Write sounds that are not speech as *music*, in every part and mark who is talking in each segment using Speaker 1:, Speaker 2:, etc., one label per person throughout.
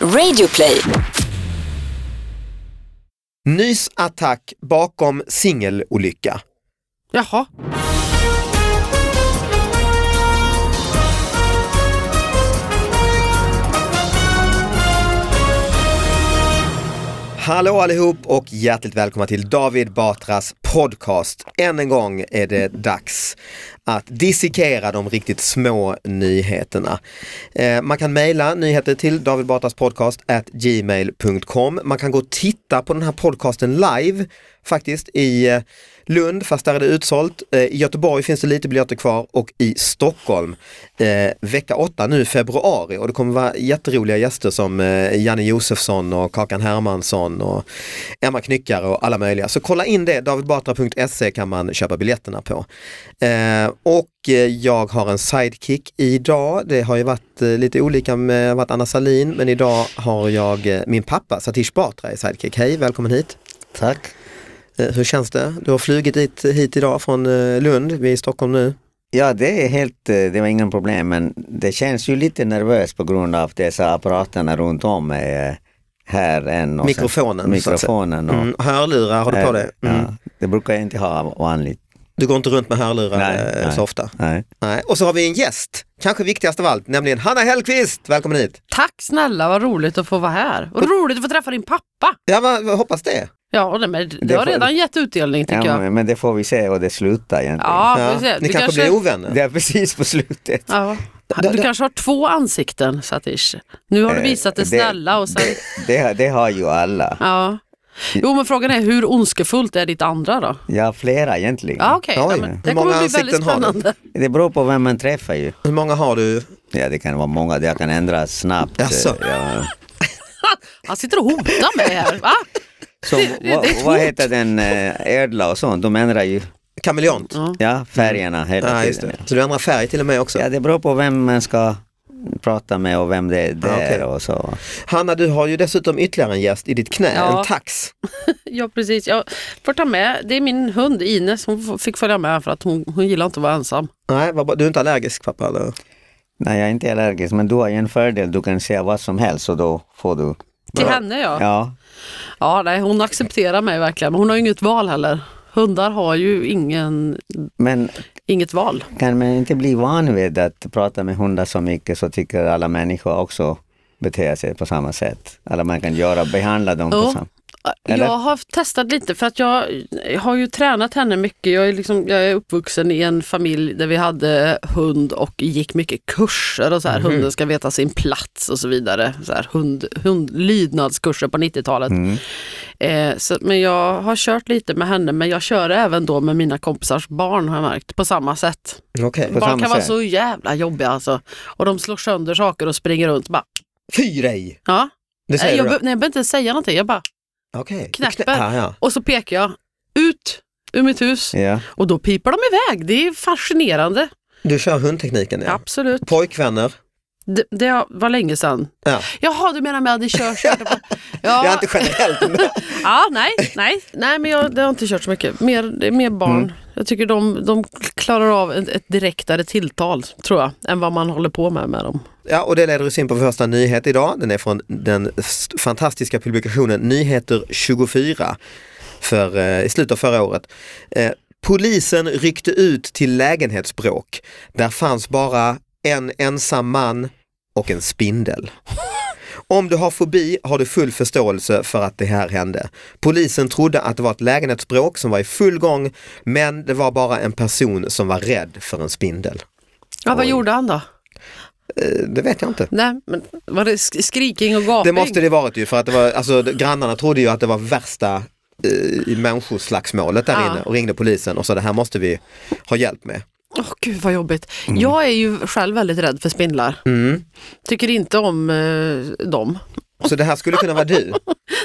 Speaker 1: Radioplay.
Speaker 2: Nys attack bakom singelolycka.
Speaker 3: Jaha.
Speaker 2: Hallå allihop och hjärtligt välkomna till David Batras podcast. Än en gång är det dags att dissekera de riktigt små nyheterna. Eh, man kan mejla nyheter till davidbatraspodcast@gmail.com. Man kan gå och titta på den här podcasten live faktiskt i eh, Lund, fast där är det utsålt. Eh, I Göteborg finns det lite biljetter kvar och i Stockholm eh, vecka 8 nu i februari och det kommer vara jätteroliga gäster som eh, Janne Josefsson och Kakan Hermansson och Emma Knyckare och alla möjliga. Så kolla in det, davidbatra.se kan man köpa biljetterna på. Eh, och eh, jag har en sidekick idag. Det har ju varit eh, lite olika med det har varit Anna Salin men idag har jag eh, min pappa Satish Batra i sidekick. Hej, välkommen hit.
Speaker 4: Tack.
Speaker 2: Eh, Hur känns det? Du har flugit hit, hit idag från eh, Lund, vi är i Stockholm nu.
Speaker 4: Ja, det är helt, eh, det var inga problem, men det känns ju lite nervöst på grund av dessa apparaterna runt om eh, här än. och sen-
Speaker 2: Mikrofonen, så att säga.
Speaker 4: Mikrofonen. Och,
Speaker 2: Mm, hörlurar, har du på dig? Mm.
Speaker 4: Ja, det brukar jag inte ha vanligt.
Speaker 2: Du går inte runt med hörlurar
Speaker 4: Nej,
Speaker 2: eh,
Speaker 4: nej.
Speaker 2: så ofta.
Speaker 4: Nej.
Speaker 2: Nej. Och så har vi en gäst, kanske viktigast av allt, nämligen Hanna Hellqvist. Välkommen hit!
Speaker 3: Tack snälla, vad roligt att få vara här. Och roligt att få träffa din pappa.
Speaker 2: Ja, vad, vad hoppas det.
Speaker 3: Ja, och det, men det
Speaker 4: Det
Speaker 3: har
Speaker 4: får-
Speaker 3: redan gett utdelning tycker
Speaker 4: Ja,
Speaker 3: jag.
Speaker 4: men- men det får vi se och det slutar egentligen.
Speaker 3: Ja,
Speaker 2: Ja.
Speaker 3: vi ser.
Speaker 2: Ni
Speaker 3: Du
Speaker 2: kanske
Speaker 3: kanske,
Speaker 2: blir ovänner.
Speaker 4: Det är precis på slutet.
Speaker 3: ja.
Speaker 2: Det-
Speaker 3: Du
Speaker 2: det-
Speaker 3: kanske har två ansikten Satish. Nu har du
Speaker 4: Eh,
Speaker 3: visat det
Speaker 4: det-
Speaker 3: snälla och sen...
Speaker 4: Det, det, har- det har ju alla.
Speaker 3: Ja. Jo men frågan är hur ondskefullt är ditt andra då?
Speaker 4: Ja, flera egentligen.
Speaker 3: Ja okej,
Speaker 2: Oj.
Speaker 3: ja, men det
Speaker 2: Hur
Speaker 3: kommer
Speaker 2: många
Speaker 3: bli väldigt
Speaker 2: ansikten har du?
Speaker 3: spännande.
Speaker 4: Det beror på vem man träffar ju.
Speaker 2: Hur många har du?
Speaker 4: Ja, det kan vara många, det kan ändras snabbt.
Speaker 2: Jaså?
Speaker 4: Ja.
Speaker 3: Han sitter och hotar mig här. Va?
Speaker 4: Så,
Speaker 3: det är
Speaker 4: vad-
Speaker 3: ett
Speaker 4: vad
Speaker 3: hot.
Speaker 4: heter den, eh, ödla och sånt, de ändrar ju
Speaker 2: Kameleont?
Speaker 4: Ja, färgerna hela
Speaker 2: Mm. Ja, just
Speaker 4: tiden.
Speaker 2: det. Så du ändrar färg till och med också.
Speaker 4: Ja, det beror på vem man ska prata med och vem det är där
Speaker 2: Ja, okej.
Speaker 4: och så.
Speaker 2: Hanna, du har ju dessutom ytterligare en gäst i ditt knä,
Speaker 3: Ja.
Speaker 2: en tax.
Speaker 3: Ja precis, jag får ta med, det är min hund Ines, hon f- fick följa med för att hon, hon gillar inte att vara ensam.
Speaker 2: Nej, vad bra. du är inte allergisk pappa? Eller?
Speaker 4: Nej, jag är inte allergisk, men du har ju en fördel, du kan säga vad som helst och då får du...
Speaker 3: Till henne ja. ja.
Speaker 4: Ja,
Speaker 3: nej, hon accepterar mig verkligen, men hon har ju inget val heller. Hundar har ju ingen,
Speaker 4: men
Speaker 3: inget val.
Speaker 4: kan man inte bli van vid att prata med hundar så mycket så tycker alla människor också beter sig på samma sätt. Eller man kan göra, behandla dem på
Speaker 3: Ja.
Speaker 4: samma Eller?
Speaker 3: Jag har testat lite för att jag har ju tränat henne mycket. Jag är, liksom, jag är uppvuxen i en familj där vi hade hund och gick mycket kurser och så här. Hunden ska veta sin plats och så vidare. Så här, hund, hund, lydnadskurser på 90-talet. Eh, så, men jag har kört lite med henne men jag kör även då med mina kompisars barn har jag märkt på samma sätt.
Speaker 2: Okej.
Speaker 4: På
Speaker 3: Barn
Speaker 4: samma
Speaker 3: kan vara
Speaker 4: sätt.
Speaker 3: så jävla jobbiga alltså. Och de slår sönder saker och springer runt bara.
Speaker 2: Fy dig!
Speaker 3: Ja.
Speaker 2: Det säger
Speaker 3: Nej, jag,
Speaker 2: du?
Speaker 3: be- nej, jag behöver inte säga någonting, jag bara
Speaker 2: Okej.
Speaker 3: knäpper.
Speaker 2: Ja, ja.
Speaker 3: och så pekar jag ut ur mitt hus
Speaker 4: Ja.
Speaker 3: och då piper de iväg. Det är fascinerande.
Speaker 2: Du kör hundtekniken? Ja.
Speaker 3: Absolut.
Speaker 2: Pojkvänner?
Speaker 3: Det, det var länge sedan.
Speaker 2: Ja.
Speaker 3: Jaha, du menar med att ni
Speaker 2: *laughs*
Speaker 3: kör? körde på- Ja,
Speaker 2: Jag är inte generellt men-
Speaker 3: ja nej, nej, nej, men jag det har inte kört så mycket. Mer, det är mer barn.
Speaker 2: Mm.
Speaker 3: Jag tycker de, de klarar av ett, ett direktare tilltal, tror jag, än vad man håller på med med dem.
Speaker 2: Ja, och det leder oss in på vår första nyhet idag. Den är från den st- fantastiska publikationen Nyheter 24 för, eh, i slutet av förra året. Eh, polisen ryckte ut till lägenhetsbråk. Där fanns bara en ensam man och en spindel. Om du har fobi har du full förståelse för att det här hände. Polisen trodde att det var ett lägenhetsbråk som var i full gång, men det var bara en person som var rädd för en spindel.
Speaker 3: Ja, vad
Speaker 2: Oj.
Speaker 3: gjorde han då?
Speaker 2: Eh, Det vet jag inte.
Speaker 3: Nej, men var det sk- skriking och gaping?
Speaker 2: Det måste det varit ju för att det var, alltså, de- grannarna trodde ju att det var värsta eh, människoslagsmålet där
Speaker 3: Ja.
Speaker 2: inne och ringde polisen och sa det här måste vi ha hjälp med.
Speaker 3: Åh gud vad jobbigt.
Speaker 2: Mm.
Speaker 3: Jag är ju själv väldigt rädd för spindlar. Tycker inte om eh, dem.
Speaker 2: Så det här skulle kunna vara du.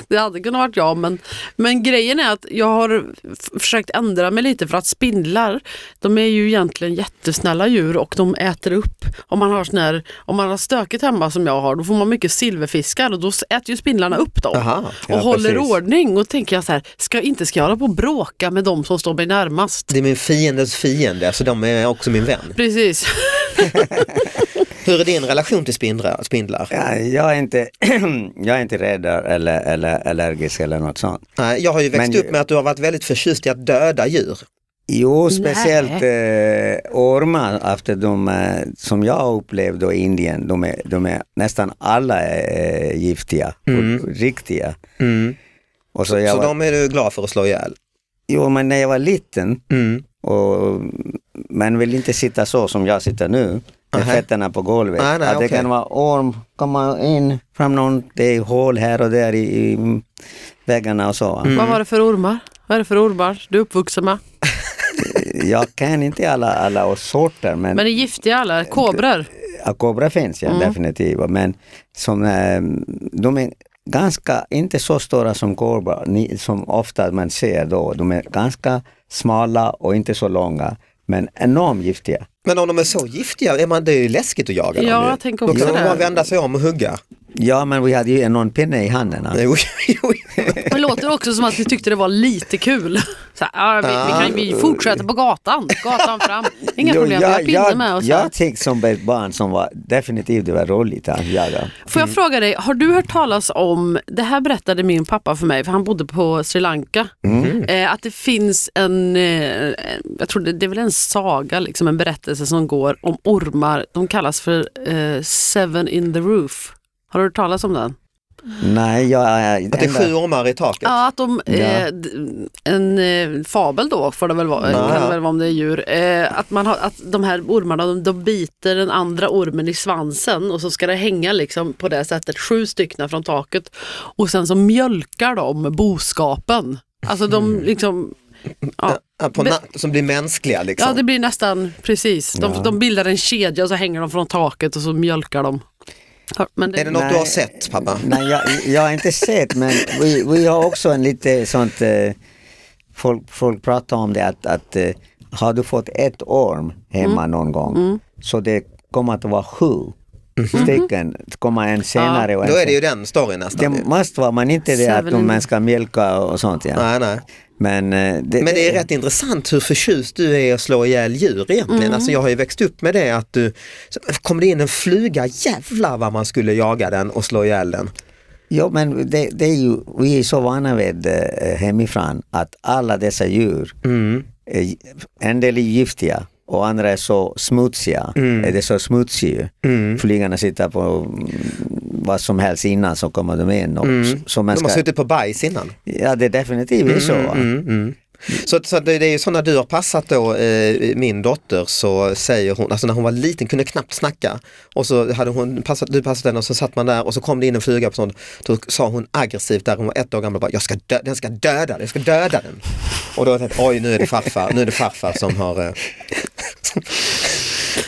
Speaker 3: Det hade kunnat varit jag men, men grejen är att jag har f- försökt ändra mig lite för att spindlar de är ju egentligen jättesnälla djur och de äter upp. Om man har, sån här, om man har stökigt hemma som jag har då får man mycket silverfiskar och då s- äter ju spindlarna upp dem.
Speaker 2: Aha,
Speaker 3: och
Speaker 4: ja,
Speaker 3: håller
Speaker 4: precis.
Speaker 3: ordning och tänker jag så här, ska, inte ska jag hålla på och bråka med de som står mig närmast.
Speaker 2: Det är min fiendes fiende så de är också min vän.
Speaker 3: Precis. *laughs*
Speaker 2: Hur är din relation till spindlar? spindlar?
Speaker 4: Ja, jag är inte *clears throat* jag är inte rädd eller, eller allergisk eller något sånt.
Speaker 2: Nej, jag har ju växt
Speaker 4: Men-
Speaker 2: upp med att du har varit väldigt förtjust i att döda djur.
Speaker 4: Jo, speciellt eh, ormar, efter de, eh, som jag upplevde i Indien, de är, de är nästan alla är eh, giftiga, och riktiga. Och så jag
Speaker 2: Mm. Så
Speaker 4: var,
Speaker 2: de är du glad för att slå ihjäl.
Speaker 4: Jo, men när jag var liten,
Speaker 2: Mm.
Speaker 4: och, men vill inte sitta så som jag sitter nu, med
Speaker 2: Aha.
Speaker 4: fötterna på golvet.
Speaker 2: Nej, nej,
Speaker 4: att det
Speaker 2: okej.
Speaker 4: kan vara orm, komma in, fram någon, det är hål här och där i, i väggarna och så.
Speaker 2: Mm.
Speaker 3: Vad var det för ormar? Vad är det för ormar du är uppvuxen med?
Speaker 4: Jag kan inte alla, alla sorter, men
Speaker 3: Men är giftiga alla? Kobror?
Speaker 4: Ja, kobra finns
Speaker 3: Mm.
Speaker 4: ja, definitivt. Men som, eh, de är ganska, inte så stora som kobra, ni, som ofta man ser då. De är ganska smala och inte så långa, men enormt giftiga.
Speaker 2: Men om de är så giftiga, är man, det är ju läskigt att jaga
Speaker 3: Ja,
Speaker 2: dem. ju.
Speaker 3: jag tänker
Speaker 2: Då
Speaker 3: också
Speaker 2: kan de
Speaker 3: det.
Speaker 2: bara vända sig om och hugga.
Speaker 4: Ja, men vi hade ju en pinne i handen. alltså.
Speaker 2: Jo, jo, jo.
Speaker 3: Det låter också som att ni tyckte det var lite kul. *laughs* Så här, ja, vi, vi, kan, vi fortsätter på gatan, gatan fram. Inga
Speaker 4: Jo,
Speaker 3: problem, vi har pinne med
Speaker 4: jag,
Speaker 3: oss. här.
Speaker 4: jag tänkte som ett barn som var definitivt det var roligt att jaga.
Speaker 3: Får jag fråga dig, har du hört talas om, det här berättade min pappa för mig, för han bodde på Sri Lanka, eh, att det finns en, eh, jag tror det, det är väl en saga, liksom en berättelse som går om ormar, de kallas för eh, Seven in the Roof. Har du hört talas om den?
Speaker 4: Nej, jag är...
Speaker 2: Att det är sju ormar i taket.
Speaker 3: Ja, att de, eh,
Speaker 4: Ja.
Speaker 3: d- en eh, fabel då får det väl vara,
Speaker 2: Ja.
Speaker 3: kan det väl vara om det är djur, eh, att, man har, att de här ormarna de, de biter den andra ormen i svansen och så ska det hänga liksom på det sättet sju stycken från taket och sen så mjölkar de boskapen. Alltså de liksom, ja,
Speaker 2: Mm. Ja, På
Speaker 3: Be-
Speaker 2: na- som blir mänskliga liksom.
Speaker 3: ja det blir nästan precis, de, de bildar en kedja och så hänger de från taket och så mjölkar de. Ja, Men
Speaker 2: Är det något du
Speaker 4: Nej.
Speaker 2: har sett pappa?
Speaker 4: Nej, jag, jag har inte sett, men vi, vi har också en lite sånt... Eh, folk, folk pratar om det att, att eh, har du fått ett orm hemma
Speaker 2: Mm.
Speaker 4: någon gång, så det kommer att vara sju stycken. Det kommer en senare och en
Speaker 2: Mhm. Då är det ju
Speaker 4: sen-
Speaker 2: den storyn nästan. ju.
Speaker 4: det måste vara, men inte det att
Speaker 3: Seven in
Speaker 4: de-
Speaker 3: the-
Speaker 4: man ska mjölka och sånt. Ja.
Speaker 2: Nej, nej.
Speaker 4: Men, eh, det,
Speaker 2: Men det är rätt intressant hur förtjust du är i att slå ihjäl djur egentligen.
Speaker 3: Mm.
Speaker 2: Alltså jag har ju växt upp med det att du, så kom det in en fluga, jävlar vad man skulle jaga den och slå ihjäl den.
Speaker 4: Ja, men det, det är ju, vi är så vana vid eh, hemifrån att alla dessa djur,
Speaker 3: Mm.
Speaker 4: är, en del är giftiga och andra är så smutsiga.
Speaker 3: Mm.
Speaker 4: Är det så smutsiga? Flygarna sitter på mm, vad som helst innan så kommer de in. Och,
Speaker 3: Mm.
Speaker 4: s- så man
Speaker 2: De har
Speaker 4: ska,
Speaker 2: suttit på bajs innan.
Speaker 4: ja, det är definitivt så. va?
Speaker 3: mm.
Speaker 2: Så, så det, det är ju så när du har passat då eh, min dotter så säger hon, alltså när hon var liten kunde knappt snacka och så hade hon passat, du passat henne och så satt man där och så kom det in en fluga på sånt. Då sa hon aggressivt där hon var ett år gammal, bara, jag ska dö- den ska döda den, jag ska döda den. Och då tänkte jag, oj nu är det farfar, nu är det farfar som har eh,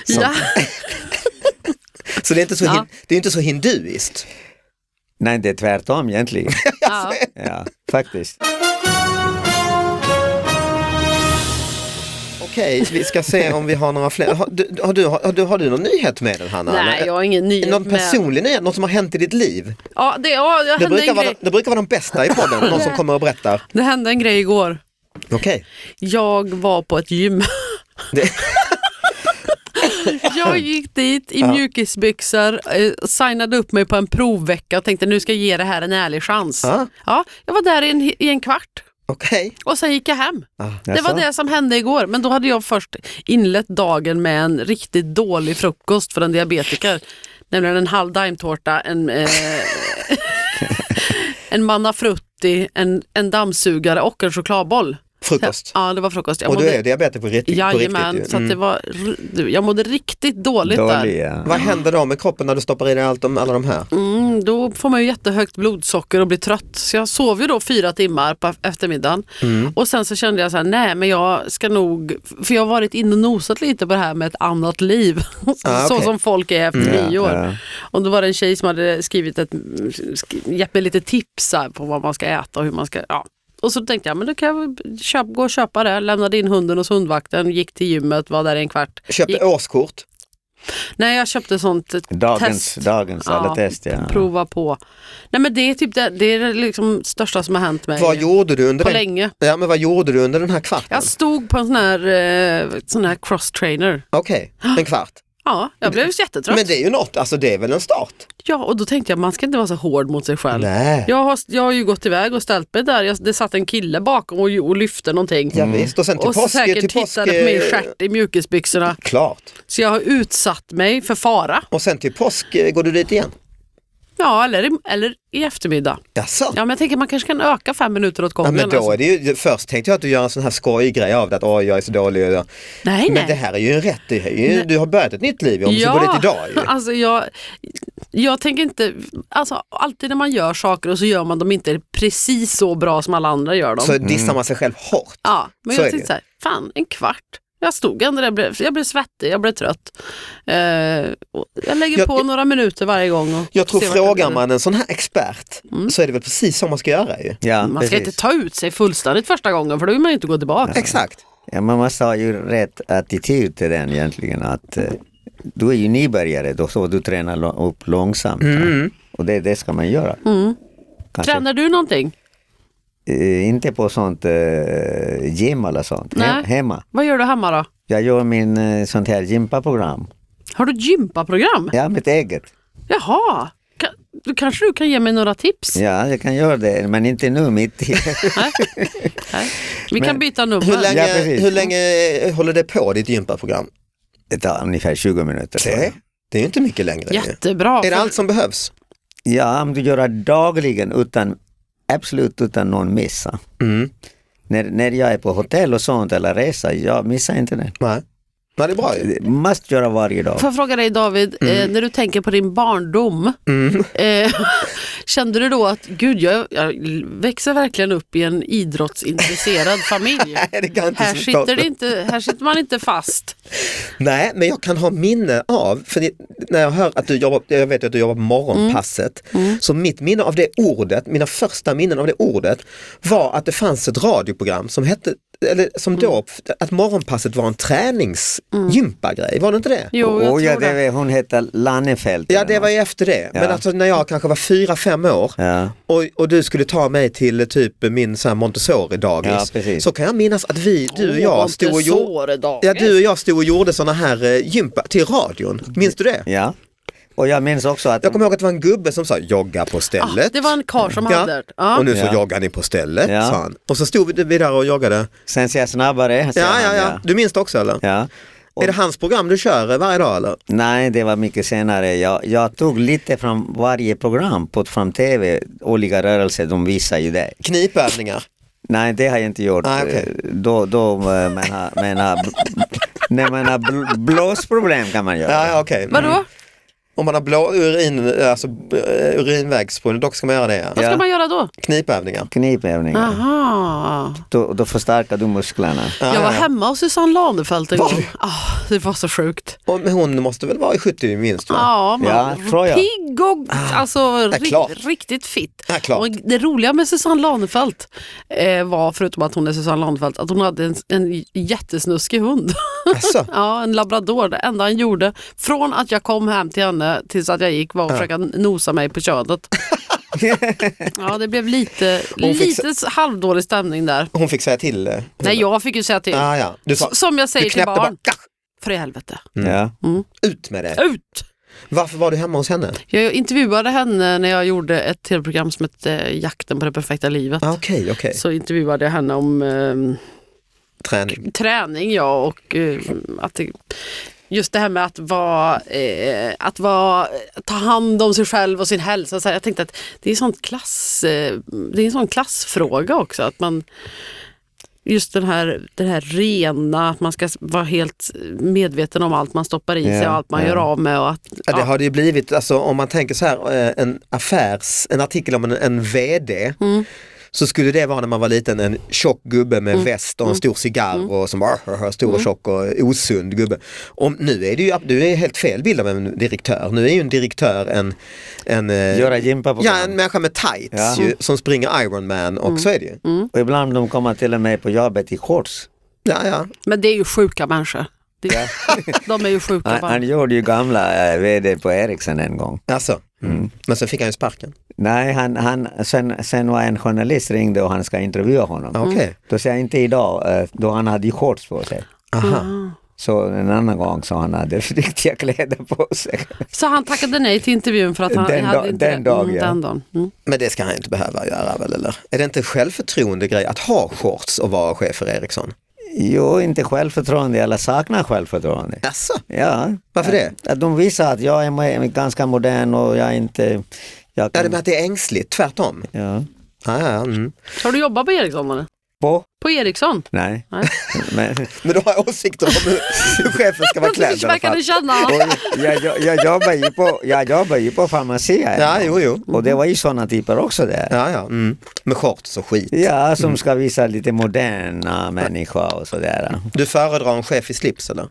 Speaker 3: ja.
Speaker 2: Så det är inte så,
Speaker 3: Ja.
Speaker 2: hin- det är inte så hinduiskt.
Speaker 4: Nej, det är tvärtom egentligen.
Speaker 3: *laughs* ja.
Speaker 4: ja, faktiskt.
Speaker 2: Okej, vi ska se om vi har några fler. Har du, har du, har du, har du någon nyhet med den Hanna?
Speaker 3: *laughs* Nej,
Speaker 2: eller?
Speaker 3: jag har ingen nyhet
Speaker 2: Någon
Speaker 3: med-
Speaker 2: personlig nyhet, något som har hänt i ditt liv?
Speaker 3: Ja, det, ja, det
Speaker 2: Det
Speaker 3: hände
Speaker 2: brukar,
Speaker 3: en
Speaker 2: vara,
Speaker 3: grej.
Speaker 2: det brukar vara de bästa i podden, någon som kommer och berättar.
Speaker 3: Det hände en grej igår.
Speaker 2: Okej.
Speaker 3: Jag var på ett gym.
Speaker 2: Det-
Speaker 3: *laughs* Jag gick dit i mjukisbyxor, eh, signade upp mig på en provvecka och tänkte nu ska jag ge det här en ärlig chans.
Speaker 2: Ja.
Speaker 3: Ja, jag var där i en, i en kvart
Speaker 2: Okej.
Speaker 3: och sen gick jag hem. Det
Speaker 4: Jaså?
Speaker 3: var det som hände igår, men då hade jag först inlett dagen med en riktigt dålig frukost för en diabetiker. Nämligen en halv daimtårta, en, eh, *laughs* en manna frutti, en, en dammsugare och en chokladboll.
Speaker 2: Frukost.
Speaker 3: Ja, det var frukost. Jag
Speaker 2: Och du
Speaker 3: mådde-
Speaker 2: är diabetiker på riktigt. På
Speaker 3: Jajamän,
Speaker 2: riktigt
Speaker 3: så
Speaker 2: ju.
Speaker 3: att det
Speaker 2: mm.
Speaker 3: var, r- du, jag mådde riktigt dåligt
Speaker 4: Dålig,
Speaker 3: där.
Speaker 4: ja.
Speaker 2: Vad händer då med kroppen när du stoppar i dig allt om alla de här?
Speaker 3: Mm, då får man ju jättehögt blodsocker och blir trött. Så jag sov ju då fyra timmar på eftermiddagen.
Speaker 4: Mm.
Speaker 3: Och sen så kände jag så här, nej men jag ska nog, för jag har varit inne och nosat lite på det här med ett annat liv. *laughs*
Speaker 2: Ah,
Speaker 3: Så
Speaker 2: okej.
Speaker 3: som folk är efter
Speaker 4: Mm, Ja,
Speaker 3: nyår.
Speaker 4: ja.
Speaker 3: Och då var det en tjej som hade skrivit ett, sk- gett mig lite tips här på vad man ska äta och hur man ska, ja. Och så tänkte jag, men då kan jag väl köp, gå och köpa det. Lämnade in hunden hos hundvakten, gick till gymmet, var där i en kvart.
Speaker 2: Köpte
Speaker 3: Gick-
Speaker 2: årskort.
Speaker 3: Nej, jag köpte sånt eh,
Speaker 4: Dagens,
Speaker 3: test.
Speaker 4: dagens alla test. Ja.
Speaker 3: Prova på. Nej men det är typ det, det är det liksom största som har hänt mig
Speaker 2: Vad gjorde du under
Speaker 3: på
Speaker 2: den?
Speaker 3: länge.
Speaker 2: Ja, men vad gjorde du under den här kvarten?
Speaker 3: Jag stod på en sån här, eh, sån här cross trainer.
Speaker 2: Okej, en kvart.
Speaker 3: Ja, jag blev jättetrött.
Speaker 2: Men det är ju något, alltså det är väl en start?
Speaker 3: Ja, och då tänkte jag man ska inte vara så hård mot sig själv.
Speaker 2: Nej.
Speaker 3: Jag har, jag har ju gått iväg och ställt mig där, jag, det satt en kille bakom och, och lyfte någonting.
Speaker 2: Ja, visst, och sen till
Speaker 3: och
Speaker 2: påsk-
Speaker 3: säkert
Speaker 2: till påsk- eh,
Speaker 3: tittade på min stjärt i mjukisbyxorna.
Speaker 2: Klart.
Speaker 3: Så jag har utsatt mig för fara.
Speaker 2: Och sen till påsk eh, går du dit igen?
Speaker 3: Ja, eller, i- eller i eftermiddag.
Speaker 2: Jaså?
Speaker 3: Ja, men jag tänker man kanske kan öka fem minuter åt
Speaker 2: Ja,
Speaker 3: gången.
Speaker 2: men då
Speaker 3: alltså.
Speaker 2: är det ju, först tänkte jag att du gör en sån här skojig grej av det, att åh jag är så dålig. och-
Speaker 3: Alltså, Nej,
Speaker 2: Men
Speaker 3: nej.
Speaker 2: det här är ju en rätt, det här är ju, du har börjat ett nytt liv om du ska gå dit idag. Ju.
Speaker 3: alltså jag, jag tänker inte, alltså alltid när man gör saker och så gör man dem inte precis så bra som alla andra gör dem.
Speaker 2: Så dissar man sig själv hårt.
Speaker 3: ja, men
Speaker 2: så är
Speaker 3: jag
Speaker 2: det
Speaker 3: tänkte så här, fan en kvart. Jag stod ändå där, jag blev, jag blev svettig, jag blev trött. Eh, och jag lägger
Speaker 2: Jag-
Speaker 3: på några minuter varje gång. Och
Speaker 2: Jag tror
Speaker 3: ser Mm. vart det
Speaker 2: frågar
Speaker 3: blir.
Speaker 2: man en sån här expert så är det väl precis så man ska göra ju.
Speaker 4: Ja,
Speaker 3: Man ska
Speaker 4: precis.
Speaker 3: inte ta ut sig fullständigt första gången för då vill man ju inte gå tillbaka.
Speaker 2: Exakt.
Speaker 4: Ja, man måste ha ju rätt attityd till den egentligen. Att, eh, du är ju nybörjare då, så du tränar lo- upp långsamt. va? Och det, det ska man göra. Kanske,
Speaker 3: Mm. Tränar du någonting?
Speaker 4: eh, inte på sånt eh, gym eller sånt,
Speaker 3: Nej.
Speaker 4: He- hemma.
Speaker 3: Vad gör du hemma då?
Speaker 4: Jag gör min eh, sånt här gympaprogram.
Speaker 3: Har du gympaprogram?
Speaker 4: Ja, mitt eget.
Speaker 3: Jaha, Ka- då kanske du kan ge mig några tips?
Speaker 4: Ja, jag kan göra det, men inte nu mitt i. *laughs*
Speaker 3: Nej. Nej. Vi kan
Speaker 4: Men-
Speaker 3: byta
Speaker 2: Hur
Speaker 3: nummer.
Speaker 2: länge,
Speaker 4: Ja, precis.
Speaker 2: hur länge håller det på ditt gympaprogram?
Speaker 4: Det tar ungefär 20 minuter.
Speaker 2: Det, det är ju inte mycket längre. ju.
Speaker 3: Jättebra.
Speaker 2: Är det allt som behövs?
Speaker 4: Ja, om du gör det dagligen utan, absolut utan någon miss. va?
Speaker 2: Mm.
Speaker 4: När, när jag är på hotell och sånt eller resa, jag missar inte det.
Speaker 2: Nej. Nej, det är bra ju.
Speaker 4: Måste göra varje dag.
Speaker 3: Får jag fråga dig David,
Speaker 2: Mm.
Speaker 3: eh, när du tänker på din barndom, eh, *laughs* kände du då att gud, jag, jag växer verkligen upp i en idrottsintresserad familj?
Speaker 2: *laughs* Nej, det kan inte
Speaker 3: Här
Speaker 2: förstås.
Speaker 3: sitter, det inte, här sitter man inte fast.
Speaker 2: Nej, men jag kan ha minne av, för det- när jag hör att du jobbar, jag vet att du jobbar på morgonpasset,
Speaker 4: Mm.
Speaker 2: så mitt minne av det ordet, mina första minnen av det ordet var att det fanns ett radioprogram som hette, eller som då,
Speaker 4: Mm.
Speaker 2: att morgonpasset var en träningsgympagrej, var det inte det?
Speaker 3: Jo, jag
Speaker 4: och
Speaker 3: tror
Speaker 4: Oh, ja,
Speaker 3: det.
Speaker 4: det, hon heter Lannefelt.
Speaker 2: Ja
Speaker 4: eller
Speaker 2: det var ju
Speaker 4: något.
Speaker 2: efter det, men
Speaker 4: Ja.
Speaker 2: alltså när jag kanske var fyra fem år
Speaker 4: Ja.
Speaker 2: och, och du skulle ta mig till typ min så här
Speaker 4: Ja,
Speaker 2: Montessori-dagis
Speaker 4: precis.
Speaker 2: så kan jag minnas att vi, du och jag, stod och gjorde
Speaker 3: gjorde...
Speaker 2: Ja, du och jag stod och gjorde sådana här eh, gympa till radion,
Speaker 3: Mm.
Speaker 2: minns du det?
Speaker 4: ja. Och jag minns också att...
Speaker 2: Jag kommer ihåg att det var en gubbe som sa jogga på stället.
Speaker 3: Ah, det var en karl som hade det. Ja.
Speaker 2: Ja. Och nu så
Speaker 4: Ja.
Speaker 2: joggar ni på stället,
Speaker 4: Ja.
Speaker 2: sa han. Och så stod vi- vi där och joggade.
Speaker 4: Sen ser jag snabbare. säger
Speaker 2: Ja, ja,
Speaker 4: han,
Speaker 2: ja. Du minns det också eller?
Speaker 4: ja. Och,
Speaker 2: Är det hans program du kör eh, varje dag eller?
Speaker 4: Nej, det var mycket senare. Jag, jag tog lite från varje program, på, från TV, olika rörelser, de visar ju det.
Speaker 2: Knipövningar.
Speaker 4: Nej, det har jag inte gjort.
Speaker 2: Ah, okej.
Speaker 4: Eh, Då, då eh, man har, man har, när man har bl- blåsproblem kan man göra.
Speaker 2: Ja, ja okej. Mm.
Speaker 3: Vadå?
Speaker 2: Om man har blå urin, alltså eh, urinvägsproblem, dock ska man göra det. Ja.
Speaker 3: Vad ska
Speaker 4: Ja.
Speaker 3: man göra då?
Speaker 2: Knipövningar.
Speaker 4: Knipövningar,
Speaker 3: Ah. Aha.
Speaker 4: då, då förstärker du musklerna.
Speaker 3: Jag var hemma hos Susanne Lanefelt en
Speaker 2: Var
Speaker 3: gång.
Speaker 2: du?
Speaker 3: Ah, det var så sjukt.
Speaker 2: Och, men hon måste väl vara i 70 minst va?
Speaker 3: Ja, man,
Speaker 4: Ja, tror jag.
Speaker 3: pigg och alltså, ri-
Speaker 2: Ah, klart.
Speaker 3: riktigt fit.
Speaker 2: Ja, klart.
Speaker 3: Och det roliga med Susanne Lanefelt eh, var, förutom att hon är Susanne Lanefelt, att hon hade en, en jättesnuskig hund. *laughs*
Speaker 2: Alltså, *laughs*
Speaker 3: ja, en labrador. Det enda han gjorde från att jag kom hem till henne tills att jag gick var att försöka nosa mig
Speaker 2: *laughs*
Speaker 3: på könet. ja, det blev lite,
Speaker 2: Hon fick
Speaker 3: lite halvdålig stämning där.
Speaker 2: hon fick säga till. eh,
Speaker 3: Nej, jag fick ju säga till.
Speaker 2: Ja, ja. Du sa,
Speaker 3: S- Som jag säger
Speaker 2: Ah, du
Speaker 3: till
Speaker 2: knäppte bara,
Speaker 3: barn. För i helvete.
Speaker 2: Mm.
Speaker 4: Ja.
Speaker 2: ut med det.
Speaker 3: Ut!
Speaker 2: Varför var du hemma hos henne?
Speaker 3: Jag intervjuade henne när jag gjorde ett tv-program som hette eh, Jakten på det perfekta livet.
Speaker 2: Ah, Okej, okej.
Speaker 3: Så intervjuade jag henne om ehm,
Speaker 2: Träning.
Speaker 3: träning ja, och eh, att det, just det här med att, vara, eh, att vara, ta hand om sig själv och sin hälsa. Så här, jag tänkte att det är, sånt klass, eh, det är en sån klassfråga också. Att man, just den här, den här rena, att man ska vara helt medveten om allt man stoppar i sig
Speaker 4: Ja,
Speaker 3: och allt man
Speaker 4: ja.
Speaker 3: gör av med. Och att,
Speaker 2: Ja, det har det ju blivit, alltså, om man tänker så här, eh, en affärs, en artikel om en, en VD, så skulle det vara när man var liten en tjock gubbe med väst och en stor cigarr och som bara stor och tjock och osund gubbe. Om, nu är det ju ab- du är helt fel bild av en direktör, nu är ju en direktör en, en, eh,
Speaker 4: Göra gympaprogram.
Speaker 2: ja, en människa med tights
Speaker 4: Ja. Mm.
Speaker 2: ju, som springer Ironman och så är det ju.
Speaker 4: Och ibland de kommer till och med på jobbet i shorts.
Speaker 2: Ja, ja.
Speaker 3: Men det är ju sjuka människor. Det, *laughs* De är
Speaker 4: *laughs*
Speaker 3: ju sjuka
Speaker 4: Han,
Speaker 3: bara.
Speaker 4: han gjorde ju gamla eh, VD på Ericsson en gång.
Speaker 2: Alltså. Men sen fick han ju sparken.
Speaker 4: Nej, han, han, sen, sen var en journalist ringde och han ska intervjua honom.
Speaker 2: Okej,
Speaker 4: Då säger jag inte idag, eh, då han hade ju shorts på sig.
Speaker 2: aha.
Speaker 4: Så en annan gång så han hade riktiga kläder på sig.
Speaker 3: Så han tackade nej till intervjun för att han
Speaker 4: Den
Speaker 3: hade
Speaker 4: dag-
Speaker 3: inte
Speaker 4: den dagen,
Speaker 3: mm,
Speaker 4: ja.
Speaker 3: den dagen. Mm.
Speaker 2: Men det ska han inte behöva göra väl eller? Är det inte en självförtroende grej att ha shorts och vara chef för Ericsson?
Speaker 4: Jo, inte självförtroende, eller saknar självförtroende.
Speaker 2: Jaså,
Speaker 4: Ja.
Speaker 2: varför det?
Speaker 4: Att, att de visar att jag är mo- ganska modern och jag är inte... Jag
Speaker 2: Ja, det är
Speaker 4: kan,
Speaker 2: bara att det är ängsligt, tvärtom.
Speaker 4: ja.
Speaker 2: Ah, ja, mm.
Speaker 3: Har du jobbat på Ericsson eller?
Speaker 4: På?
Speaker 3: På Ericsson?
Speaker 4: Nej.
Speaker 2: *laughs*
Speaker 3: Nej.
Speaker 4: Men,
Speaker 2: Men du har åsikter om hur,
Speaker 4: *laughs*
Speaker 2: hur chefen ska vara klädd. i alla
Speaker 3: verkade
Speaker 2: fall.
Speaker 3: känna.
Speaker 4: och jag, jag, jag, jobbar ju på, jag jobbar ju på farmacia.
Speaker 2: Ja, jo, Mm. jo.
Speaker 4: Och det var ju sådana typer också där.
Speaker 2: Ja, ja, mm. Med shorts och skit.
Speaker 4: Ja, som ska visa lite moderna människa och sådär.
Speaker 2: Du föredrar en chef i slips eller?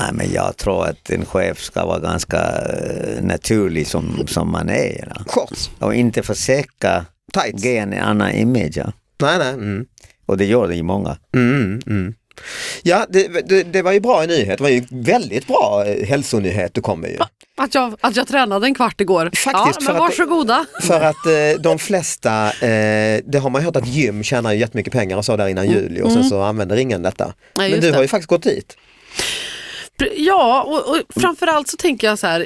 Speaker 4: Nej, men jag tror att en chef ska vara ganska eh, naturlig som, som man är. Ja.
Speaker 2: Shorts,
Speaker 4: Och inte försöka
Speaker 2: tights?
Speaker 4: ge en annan image. Ja.
Speaker 2: Nej, nej. Mm.
Speaker 4: Och det gör det ju många.
Speaker 2: Mm, mm. Ja, det, det, det var ju bra nyhet. Det var ju väldigt bra eh, hälsonyhet du kom med ju.
Speaker 3: Att jag, att jag tränade en kvart igår.
Speaker 2: Faktiskt,
Speaker 3: ja,
Speaker 2: för
Speaker 3: men
Speaker 2: att-
Speaker 3: varsågoda.
Speaker 2: För att eh, de flesta, eh, det har man ju hört att gym tjänar ju jättemycket pengar och så där innan juli och sen så använder ingen detta.
Speaker 3: Mm.
Speaker 2: Men
Speaker 3: Nej, just
Speaker 2: du har
Speaker 3: det.
Speaker 2: ju faktiskt gått dit.
Speaker 3: Pre- Ja, och, och framförallt så tänker jag så här,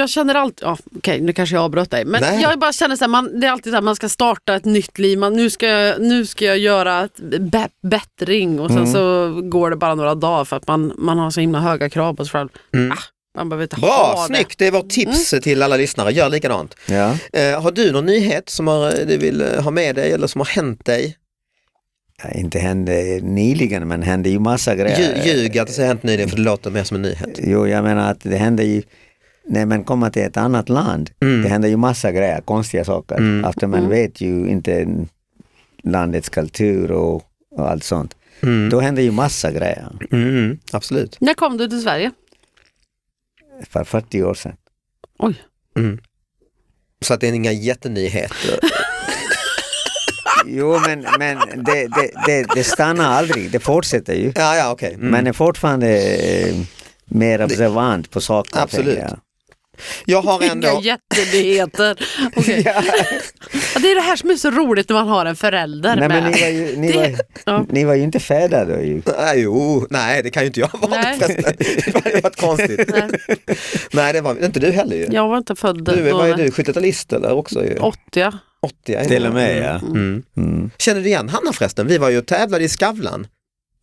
Speaker 3: jag känner alltid, ja, okej nu kanske jag avbröt dig, men
Speaker 2: Nej.
Speaker 3: jag bara känner så här, man, det är alltid så här, man ska starta ett nytt liv, man, nu, ska jag, nu ska jag göra ett bä- bättring och sen
Speaker 2: Mm.
Speaker 3: så går det bara några dagar för att man, man har så himla höga krav på sig själv. Ah, man behöver inte
Speaker 2: Mm. Bra,
Speaker 3: ha
Speaker 2: snyggt! Det är vårt tips
Speaker 3: Mm.
Speaker 2: till alla lyssnare, gör likadant.
Speaker 4: Ja.
Speaker 2: Eh, har du någon nyhet som har, du vill eh, ha med dig eller som har hänt dig?
Speaker 4: Ja, Inte hände nyligen, men hände ju massa
Speaker 2: Lju-
Speaker 4: grejer.
Speaker 2: Ljug att det har hänt nyligen för det låter mer som en nyhet.
Speaker 4: Jo, jag menar att det hände ju, när man kommer till ett annat land, det händer ju massa grejer, konstiga saker. Eftersom man vet ju inte landets kultur och, och allt sånt. Då händer ju massa grejer,
Speaker 2: Mm, absolut.
Speaker 3: det. När kom du till Sverige?
Speaker 4: för 40 år sedan.
Speaker 3: Oj,
Speaker 2: Så att det är inga
Speaker 3: *laughs*
Speaker 2: jättenyheter.
Speaker 4: Jo, men, men det, det, det, det stannar aldrig, det fortsätter ju.
Speaker 2: Ja, ja, okej. Mm.
Speaker 4: Man är fortfarande eh, mer observant på saker.
Speaker 2: Absolut.
Speaker 4: tänker jag.
Speaker 2: Jag har
Speaker 3: inga
Speaker 2: ändå...
Speaker 3: jättenyheter.
Speaker 2: *laughs*
Speaker 3: Okej. ja, det är det här som är så roligt när man har en förälder
Speaker 4: *laughs* Nej,
Speaker 3: med.
Speaker 4: men ni var ju, *laughs* ni var,
Speaker 3: ja.
Speaker 4: ni var ju inte färdiga då ju.
Speaker 2: Nej, jo, nej det kan ju inte jag vara
Speaker 3: Nej.
Speaker 2: förresten. *laughs* Det hade varit
Speaker 3: *laughs*
Speaker 2: konstigt.
Speaker 3: Nej,
Speaker 2: Nej, det var inte du heller ju.
Speaker 3: jag var Mm. inte född
Speaker 2: Du,
Speaker 3: då.
Speaker 2: vad är du, 70-talist eller också ju?
Speaker 3: 80 ja.
Speaker 2: 80 är
Speaker 4: Till
Speaker 2: det.
Speaker 4: och med, ja.
Speaker 2: Mm.
Speaker 4: Mm.
Speaker 2: Känner du igen Hanna förresten? Vi var ju och tävlade i Skavlan.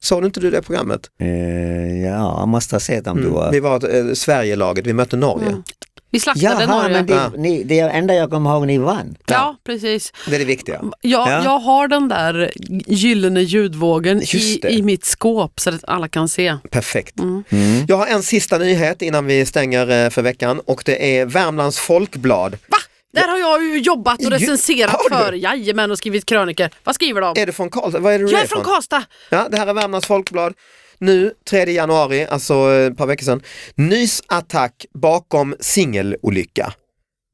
Speaker 2: Såg du inte du det programmet?
Speaker 4: Eh, ja, jag måste ha sett om Mm. du var...
Speaker 2: Vi var eh, Sverigelaget, vi mötte Norge.
Speaker 3: Mm. Vi slaktade
Speaker 4: Jaha,
Speaker 3: Norge.
Speaker 4: men
Speaker 2: Ja.
Speaker 4: det, ni, det är enda jag kommer ihåg ni vann.
Speaker 3: Ja, precis.
Speaker 2: Det är det viktiga.
Speaker 3: Jag,
Speaker 4: Ja.
Speaker 3: jag har den där gyllene ljudvågen
Speaker 2: Just
Speaker 3: i,
Speaker 2: det.
Speaker 3: i mitt skåp så att alla kan se.
Speaker 2: Perfekt.
Speaker 3: Mm.
Speaker 4: Mm.
Speaker 2: Jag har en sista nyhet innan vi stänger eh, för veckan och det är Värmlands Folkblad.
Speaker 3: Va? Där har jag ju jobbat och
Speaker 2: Ju-
Speaker 3: recenserat
Speaker 2: har du?
Speaker 3: för. Jajamän, och skrivit kröniker. Vad skriver de?
Speaker 2: Är du från Karlstad? Vad är det du
Speaker 3: Jag är från Karlstad!
Speaker 2: Ja, det här är Värmlands Folkblad. Nu, 3 januari, alltså eh, ett par veckor sedan. Nysattack bakom singelolycka.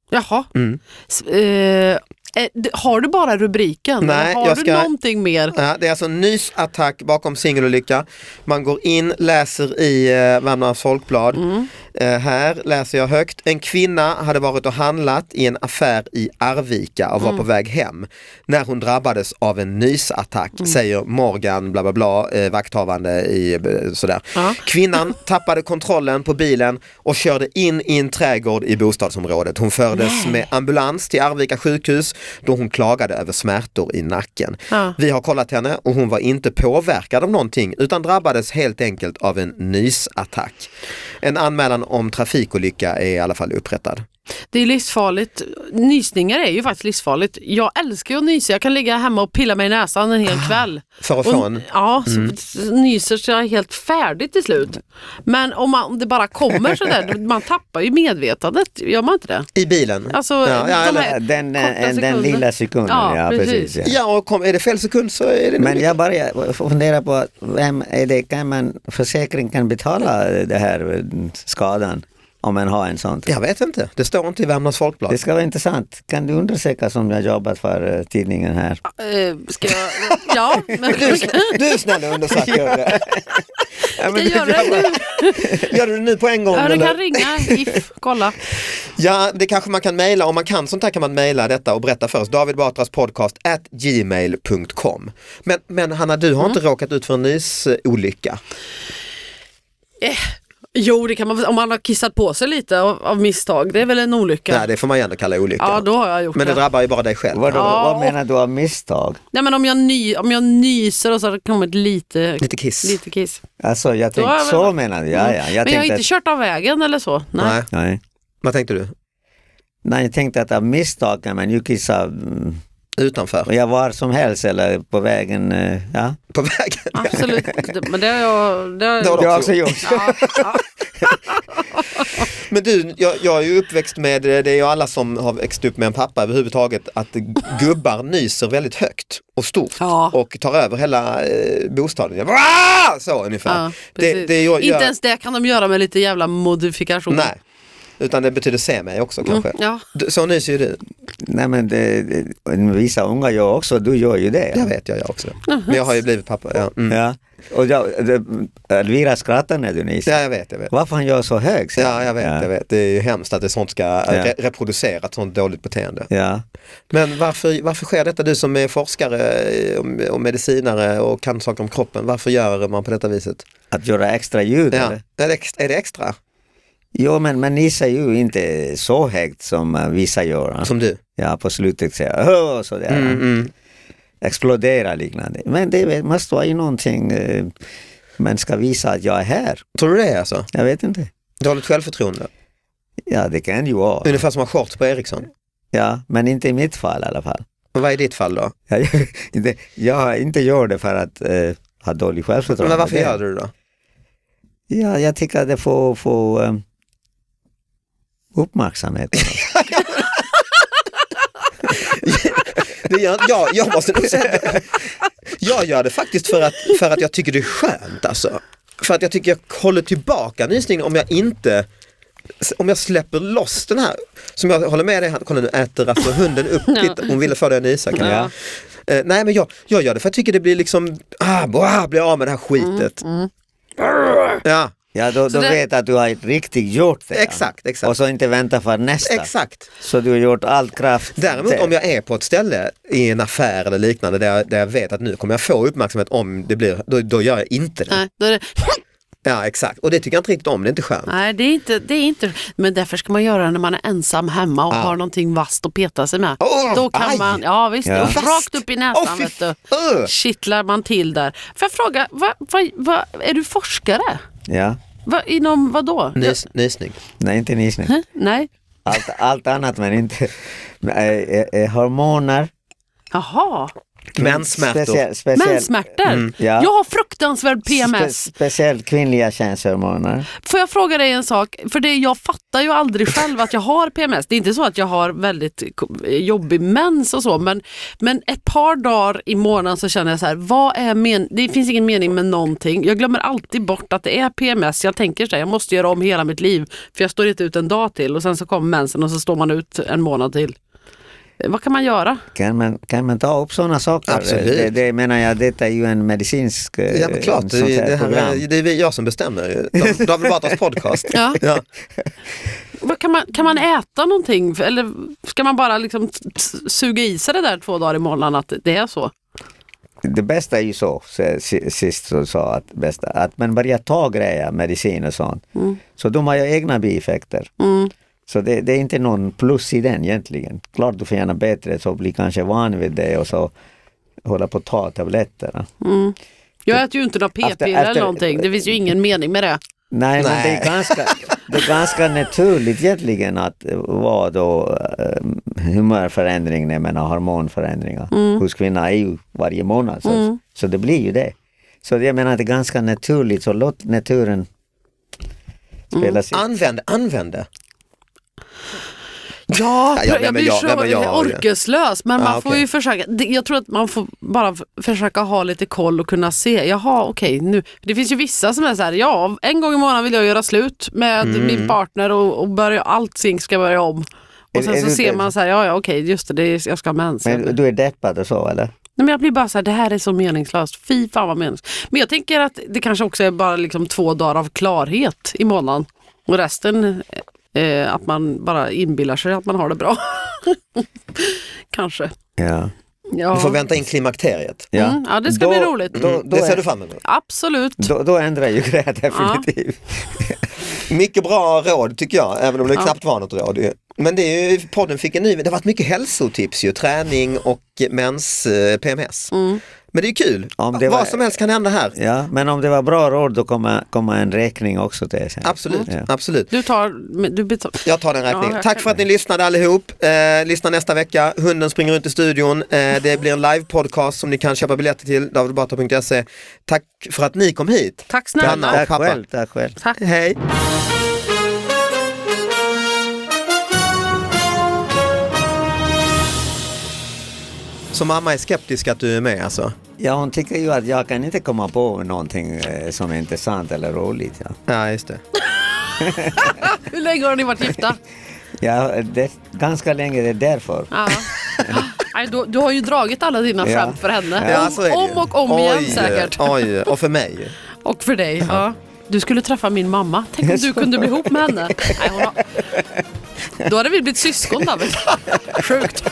Speaker 3: Jaha.
Speaker 2: Mm.
Speaker 3: S- eh, eh, d- har du bara rubriken?
Speaker 2: Nej,
Speaker 3: Eller har
Speaker 2: jag
Speaker 3: du
Speaker 2: ska-
Speaker 3: någonting mer?
Speaker 2: Ja, det är alltså en nysattack bakom singelolycka. Man går in, läser i eh, Värmlands Folkblad. Eh, här läser jag högt. En kvinna hade varit och handlat i en affär i Arvika och var på väg hem när hon drabbades av en nysattack, säger Morgan bla bla bla, eh, vakthavande i eh, sådär.
Speaker 3: Ja.
Speaker 2: Kvinnan tappade kontrollen på bilen och körde in i en trädgård i bostadsområdet. Hon fördes med ambulans till Arvika sjukhus då hon klagade över smärtor i nacken.
Speaker 3: Ja.
Speaker 2: Vi har kollat henne och hon var inte påverkad av någonting utan drabbades helt enkelt av en nysattack. En anmälan om trafikolycka är i alla fall upprättad.
Speaker 3: Det är livsfarligt. Nysningar är ju faktiskt livsfarligt. Jag älskar ju att nysa. Jag kan ligga hemma och pilla mig i näsan en hel
Speaker 2: Ah.
Speaker 3: kväll.
Speaker 2: För att få
Speaker 3: Och,
Speaker 2: en...
Speaker 3: ja, så så
Speaker 2: Mm.
Speaker 3: nyser så jag är helt färdig till slut. Men om, man, om det bara kommer sådär, *laughs* man tappar ju medvetandet, gör man inte det?
Speaker 2: I bilen?
Speaker 3: Alltså,
Speaker 2: ja, ja, eh,
Speaker 3: de
Speaker 2: eller-
Speaker 3: här-
Speaker 4: Den, den,
Speaker 3: korta sekunden.
Speaker 4: den lilla sekunden,
Speaker 3: Ja,
Speaker 4: ja,
Speaker 3: precis.
Speaker 4: precis. ja.
Speaker 2: ja och kom, är det fel sekund så är det en
Speaker 4: Men
Speaker 2: olycka.
Speaker 4: jag bara funderar på, vem är det, kan man, försäkring kan betala den här eh, skadan? om man har en sån.
Speaker 2: Jag vet inte, det står inte i Värmlands Folkblad.
Speaker 4: Det ska vara intressant. Kan du undersöka som jag jobbat för eh, tidningen här?
Speaker 3: Eh, Ska jag?
Speaker 2: *laughs*
Speaker 3: Ja, men
Speaker 2: Du,
Speaker 3: *laughs*
Speaker 2: du snälla undersöker det. Ja, men
Speaker 3: jag gör det nu.
Speaker 2: Gör du det nu på en gång?
Speaker 3: Ja, du
Speaker 2: eller?
Speaker 3: kan ringa GIF, kolla.
Speaker 2: Ja, det kanske man kan mejla. Om man kan sånt här kan man mejla detta och berätta för oss. David Batras podcast at gmail.com. Men, men Hanna, du
Speaker 3: Mm.
Speaker 2: har inte råkat ut för en nysolycka?
Speaker 3: Jo, det kan man väl- om man har kissat på sig lite av, av misstag. Det är väl en olycka?
Speaker 2: Nej, det får man ju ändå kalla olycka.
Speaker 3: ja, då har jag gjort
Speaker 2: men det
Speaker 3: det.
Speaker 2: drabbar ju bara dig själv.
Speaker 4: Vadå,
Speaker 3: Ja,
Speaker 4: Vad
Speaker 3: och-
Speaker 4: menar du av misstag?
Speaker 3: Nej, men om jag, ny, om jag nyser och så har det kommit lite,
Speaker 2: Lite kiss.
Speaker 3: lite kiss.
Speaker 4: Alltså jag
Speaker 3: Då
Speaker 4: tänkte,
Speaker 3: har jag
Speaker 4: så
Speaker 3: väl-
Speaker 4: menar du? Ja, ja. Jag
Speaker 3: men jag har
Speaker 4: tänkte
Speaker 3: inte kört av vägen eller så. Nej.
Speaker 2: Nej.
Speaker 4: att, nej.
Speaker 2: Vad tänkte du?
Speaker 4: nej, jag tänkte att av misstag kan man ju kissa mm,
Speaker 2: Utanför? *laughs*
Speaker 4: ja, var som helst eller på vägen. eh, Ja.
Speaker 2: På vägen?
Speaker 3: Absolut,
Speaker 2: *laughs*
Speaker 3: Det- men det har jag... Det har jag
Speaker 2: Det har
Speaker 4: Det
Speaker 2: du
Speaker 4: har jag
Speaker 2: också
Speaker 4: också gjort.
Speaker 3: ja,
Speaker 2: *laughs*
Speaker 3: ja.
Speaker 2: Men du, jag, jag är ju uppväxt med, det är ju alla som har växt upp med en pappa överhuvudtaget, att gubbar nyser väldigt högt och stort
Speaker 3: Ja.
Speaker 2: och tar över hela eh, bostaden. Jag bara, "Ah!" så ungefär.
Speaker 3: Ja,
Speaker 2: Det-
Speaker 3: precis.
Speaker 2: det jag- jag-
Speaker 3: Inte ens det kan de göra med lite jävla modifikation.
Speaker 2: Nej, utan det betyder se mig också kanske.
Speaker 3: Ja.
Speaker 2: Du- Så nyser ju du.
Speaker 4: *laughs* Nej men det, det, vissa unga gör också, du gör ju det.
Speaker 2: Jag vet, jag gör också det. Men jag har ju blivit pappa. Ja, mm.
Speaker 4: Ja. Och jag, det, Elvira skrattar när du nyser.
Speaker 2: ja jag vet, jag vet.
Speaker 4: Varför han gör så hög? sa
Speaker 2: Ja, jag vet, jag vet. Det är ju hemskt att det sånt ska äh, re- reproducera ett sånt dåligt beteende.
Speaker 4: Ja.
Speaker 2: Men varför, varför sker detta? Du som är forskare eh, och- och medicinare och kan saker om kroppen, varför gör man på detta viset?
Speaker 4: Att göra extra ljud?
Speaker 2: Ja.
Speaker 4: Eller?
Speaker 2: Är, det extra, är det extra
Speaker 4: Jo, men man nissar ju inte så högt som eh, vissa gör.
Speaker 2: som du?
Speaker 4: Ja, på slutet säger jag "Åh", sådär.
Speaker 2: Mm.
Speaker 4: Explodera liknande. Men det måste vara ju någonting eh, man ska visa att jag är här.
Speaker 2: Tror du det alltså?
Speaker 4: Jag vet inte.
Speaker 2: Dåligt självförtroende?
Speaker 4: Ja, det kan ju vara.
Speaker 2: Ungefär som att ha shorts på Ericsson.
Speaker 4: Ja, men inte i mitt fall i alla fall. *laughs*
Speaker 2: Men vad är ditt fall då?
Speaker 4: Jag, inte, jag inte gör det för att eh, ha dålig självförtroende.
Speaker 2: Men varför
Speaker 4: Det-
Speaker 2: gör du det då?
Speaker 4: Ja, jag tycker att det får, får eh, uppmärksamhet.
Speaker 2: Det gör, jag, jag måste nog säga det. Jag gör det faktiskt för att, för att jag tycker det är skönt alltså. För att jag tycker jag håller tillbaka nysningen om jag inte om jag släpper loss den här, som jag håller med dig, han- kolla nu äter alltså hunden upp ditt, hon ville få dig att nysa kan jag. Eh, nej men jag, jag gör det för jag tycker det blir liksom, ah, bra, bli av med det här skitet. Ja, *laughs*
Speaker 4: Ja, då, då
Speaker 3: det-
Speaker 4: vet att du har riktigt gjort det.
Speaker 2: Exakt, exakt.
Speaker 4: Och så inte vänta för nästa.
Speaker 2: exakt.
Speaker 4: Så du har gjort all kraft.
Speaker 2: Däremot om jag är på ett ställe i en affär eller liknande där jag, där jag vet att nu kommer jag få uppmärksamhet om det blir, då, då gör jag inte det.
Speaker 3: Nej, då är det,
Speaker 2: Ja exakt, och det tycker jag inte riktigt om, det är inte skönt.
Speaker 3: nej det, är inte, det är inte... Men därför ska man göra det när man är ensam hemma och
Speaker 2: Ja.
Speaker 3: har någonting vasst att peta sig med.
Speaker 2: Åh,
Speaker 3: Då kan
Speaker 2: aj!
Speaker 3: man... Ja, visst.
Speaker 4: Ja.
Speaker 3: Och rakt upp i näsan,
Speaker 2: Åh, fy-
Speaker 3: vet du.
Speaker 2: Öh!
Speaker 3: Kittlar man till där. Får jag fråga, vad- vad- vad- är du forskare?
Speaker 4: Ja,
Speaker 3: Va, inom vad då?
Speaker 2: Nys, nysning.
Speaker 4: nej inte nysning.
Speaker 3: Hä? Nej?
Speaker 4: Allt, allt annat men inte men, eh, eh, eh, hormoner.
Speaker 3: Jaha,
Speaker 4: Mm.
Speaker 2: Menssmärtor.
Speaker 4: Speciell, speciell,
Speaker 3: menssmärtor.
Speaker 4: Mm, ja.
Speaker 3: Jag har fruktansvärd PMS.
Speaker 4: Spe, speciellt kvinnliga könshormoner.
Speaker 3: Får jag fråga dig en sak? För det, jag fattar ju aldrig själv att jag har PMS. Det är inte så att jag har väldigt ko- jobbig mens och så, men, men ett par dagar i månaden så känner jag så här, vad är men det finns ingen mening med någonting. Jag glömmer alltid bort att det är PMS. Jag tänker så här, jag måste göra om hela mitt liv, för jag står inte ut en dag till och sen så kommer mensen och så står man ut en månad till. Eh, Vad kan man göra?
Speaker 4: Kan man, kan man ta upp sådana saker?
Speaker 2: Absolut.
Speaker 4: Det, det menar jag, detta är ju en medicinsk eh,
Speaker 2: Ja men klart, det,
Speaker 4: sånt
Speaker 2: är-
Speaker 4: här
Speaker 2: det, här,
Speaker 4: program.
Speaker 2: är- det är vi- jag som bestämmer ju. De- David Batras
Speaker 4: *laughs*
Speaker 2: podcast.
Speaker 3: Ja.
Speaker 2: Ja.
Speaker 3: Vad kan, man kan man äta någonting För- eller ska man bara liksom t- t- suga i sig det där två dagar i månaden att det är så?
Speaker 4: Det bästa är ju så, se- si- sist så sa att, bästa, att man börjar ta grejer, medicin och sånt. Så de har ju egna bieffekter. Så det, det är inte någon plus i den egentligen. Klart du får gärna bättre, så bli kanske van vid det och så hålla på att ta tabletterna.
Speaker 3: Jag äter ju inte några p-piller
Speaker 4: Efter-
Speaker 3: eller
Speaker 4: efter-
Speaker 3: någonting. Det finns ju ingen mening med det.
Speaker 4: Nej, men det
Speaker 2: Nej.
Speaker 4: är, ganska, det är ganska naturligt egentligen att eh, vara då eh, humörförändring, jag menar hormonförändringar
Speaker 3: Mm.
Speaker 4: hos kvinnor är ju varje månad. Så, så det blir ju det. Så jag menar att det är ganska naturligt, så låt
Speaker 3: Mm.
Speaker 4: naturen spela sitt.
Speaker 2: Använd, använd det.
Speaker 3: Ja,
Speaker 2: Ja, ja,
Speaker 3: jag,
Speaker 2: men
Speaker 3: blir
Speaker 2: jag-
Speaker 3: så
Speaker 2: ja, men jag-
Speaker 3: orkeslös men
Speaker 2: Ja,
Speaker 3: man får
Speaker 2: okej.
Speaker 3: ju försöka, det- jag tror att man får bara f- försöka ha lite koll och kunna se, jaha okej nu, det finns ju vissa som är så här, ja en gång i månaden vill jag göra slut med min partner och, och börja, allting ska börja om.
Speaker 4: Är-
Speaker 3: Och sen
Speaker 4: är
Speaker 3: så
Speaker 4: du
Speaker 3: ser
Speaker 4: det?
Speaker 3: man så här, ja ja okej just det, det är, jag ska ha mens.
Speaker 4: Men du är deppad och så eller?
Speaker 3: Nej, men jag blir bara så här, det här är så meningslöst. Fy fan vad meningslöst. Men jag tänker att det kanske också är bara liksom två dagar av klarhet i månaden. Och resten, eh, att man bara inbillar sig att man har det bra. *laughs* kanske.
Speaker 4: Ja.
Speaker 3: Ja.
Speaker 2: Du får vänta in klimakteriet. Mm.
Speaker 4: ja.
Speaker 3: Mm, ja, det ska
Speaker 4: Då-
Speaker 3: bli roligt.
Speaker 4: Då, då,
Speaker 2: Det ser
Speaker 4: är,
Speaker 2: du fram emot.
Speaker 3: Absolut.
Speaker 4: då, då ändrar ju *laughs* grejen definitivt.
Speaker 2: Mycket bra råd tycker jag, även om det
Speaker 3: Ja.
Speaker 2: knappt var något råd. ju. Men det är ju, podden fick en ny, det har varit mycket hälsotips ju, träning och mens, eh, PMS. Men det är ju kul,
Speaker 4: Om Mm. det var-
Speaker 2: vad som helst kan hända här.
Speaker 4: Ja. men om det var bra råd då kommer, kommer en räkning också till er sen.
Speaker 2: Absolut,
Speaker 4: Ja.
Speaker 2: absolut.
Speaker 3: Du tar, men du betal-
Speaker 2: Jag tar den räkningen.
Speaker 3: Ja, jag
Speaker 2: Tack för att ni lyssnade allihop. Eh, lyssna nästa vecka. Hunden springer runt i studion. Eh, det blir en live-podcast som ni kan köpa biljetter till. Davidbatra.se. Tack för att ni kom hit.
Speaker 3: Tack
Speaker 2: Anna.
Speaker 3: snälla.
Speaker 4: Tack
Speaker 2: pappa.
Speaker 4: själv, tack själv.
Speaker 3: Tack.
Speaker 2: Hej! Så mamma är skeptisk att du är med alltså?
Speaker 4: Ja, hon tycker ju att jag kan inte komma på någonting eh, som är intressant eller roligt. Ja.
Speaker 2: Ja, just det.
Speaker 3: Hur länge har ni varit gifta?
Speaker 4: Ja, det, ganska länge, det är därför.
Speaker 2: *laughs*
Speaker 3: Ja. Nej, du, du har ju dragit alla dina
Speaker 4: Ja.
Speaker 3: skämt för henne.
Speaker 2: Ja,
Speaker 3: om,
Speaker 2: så är det ju.
Speaker 3: om och om
Speaker 2: Oj,
Speaker 3: igen säkert.
Speaker 2: Oj, och för mig. ju.
Speaker 3: Och för dig. Ja. Du skulle träffa min mamma. Tänk om *laughs* du kunde *laughs* bli ihop med henne. Nej, hon har... Då hade vi blivit syskon David. Sjukt.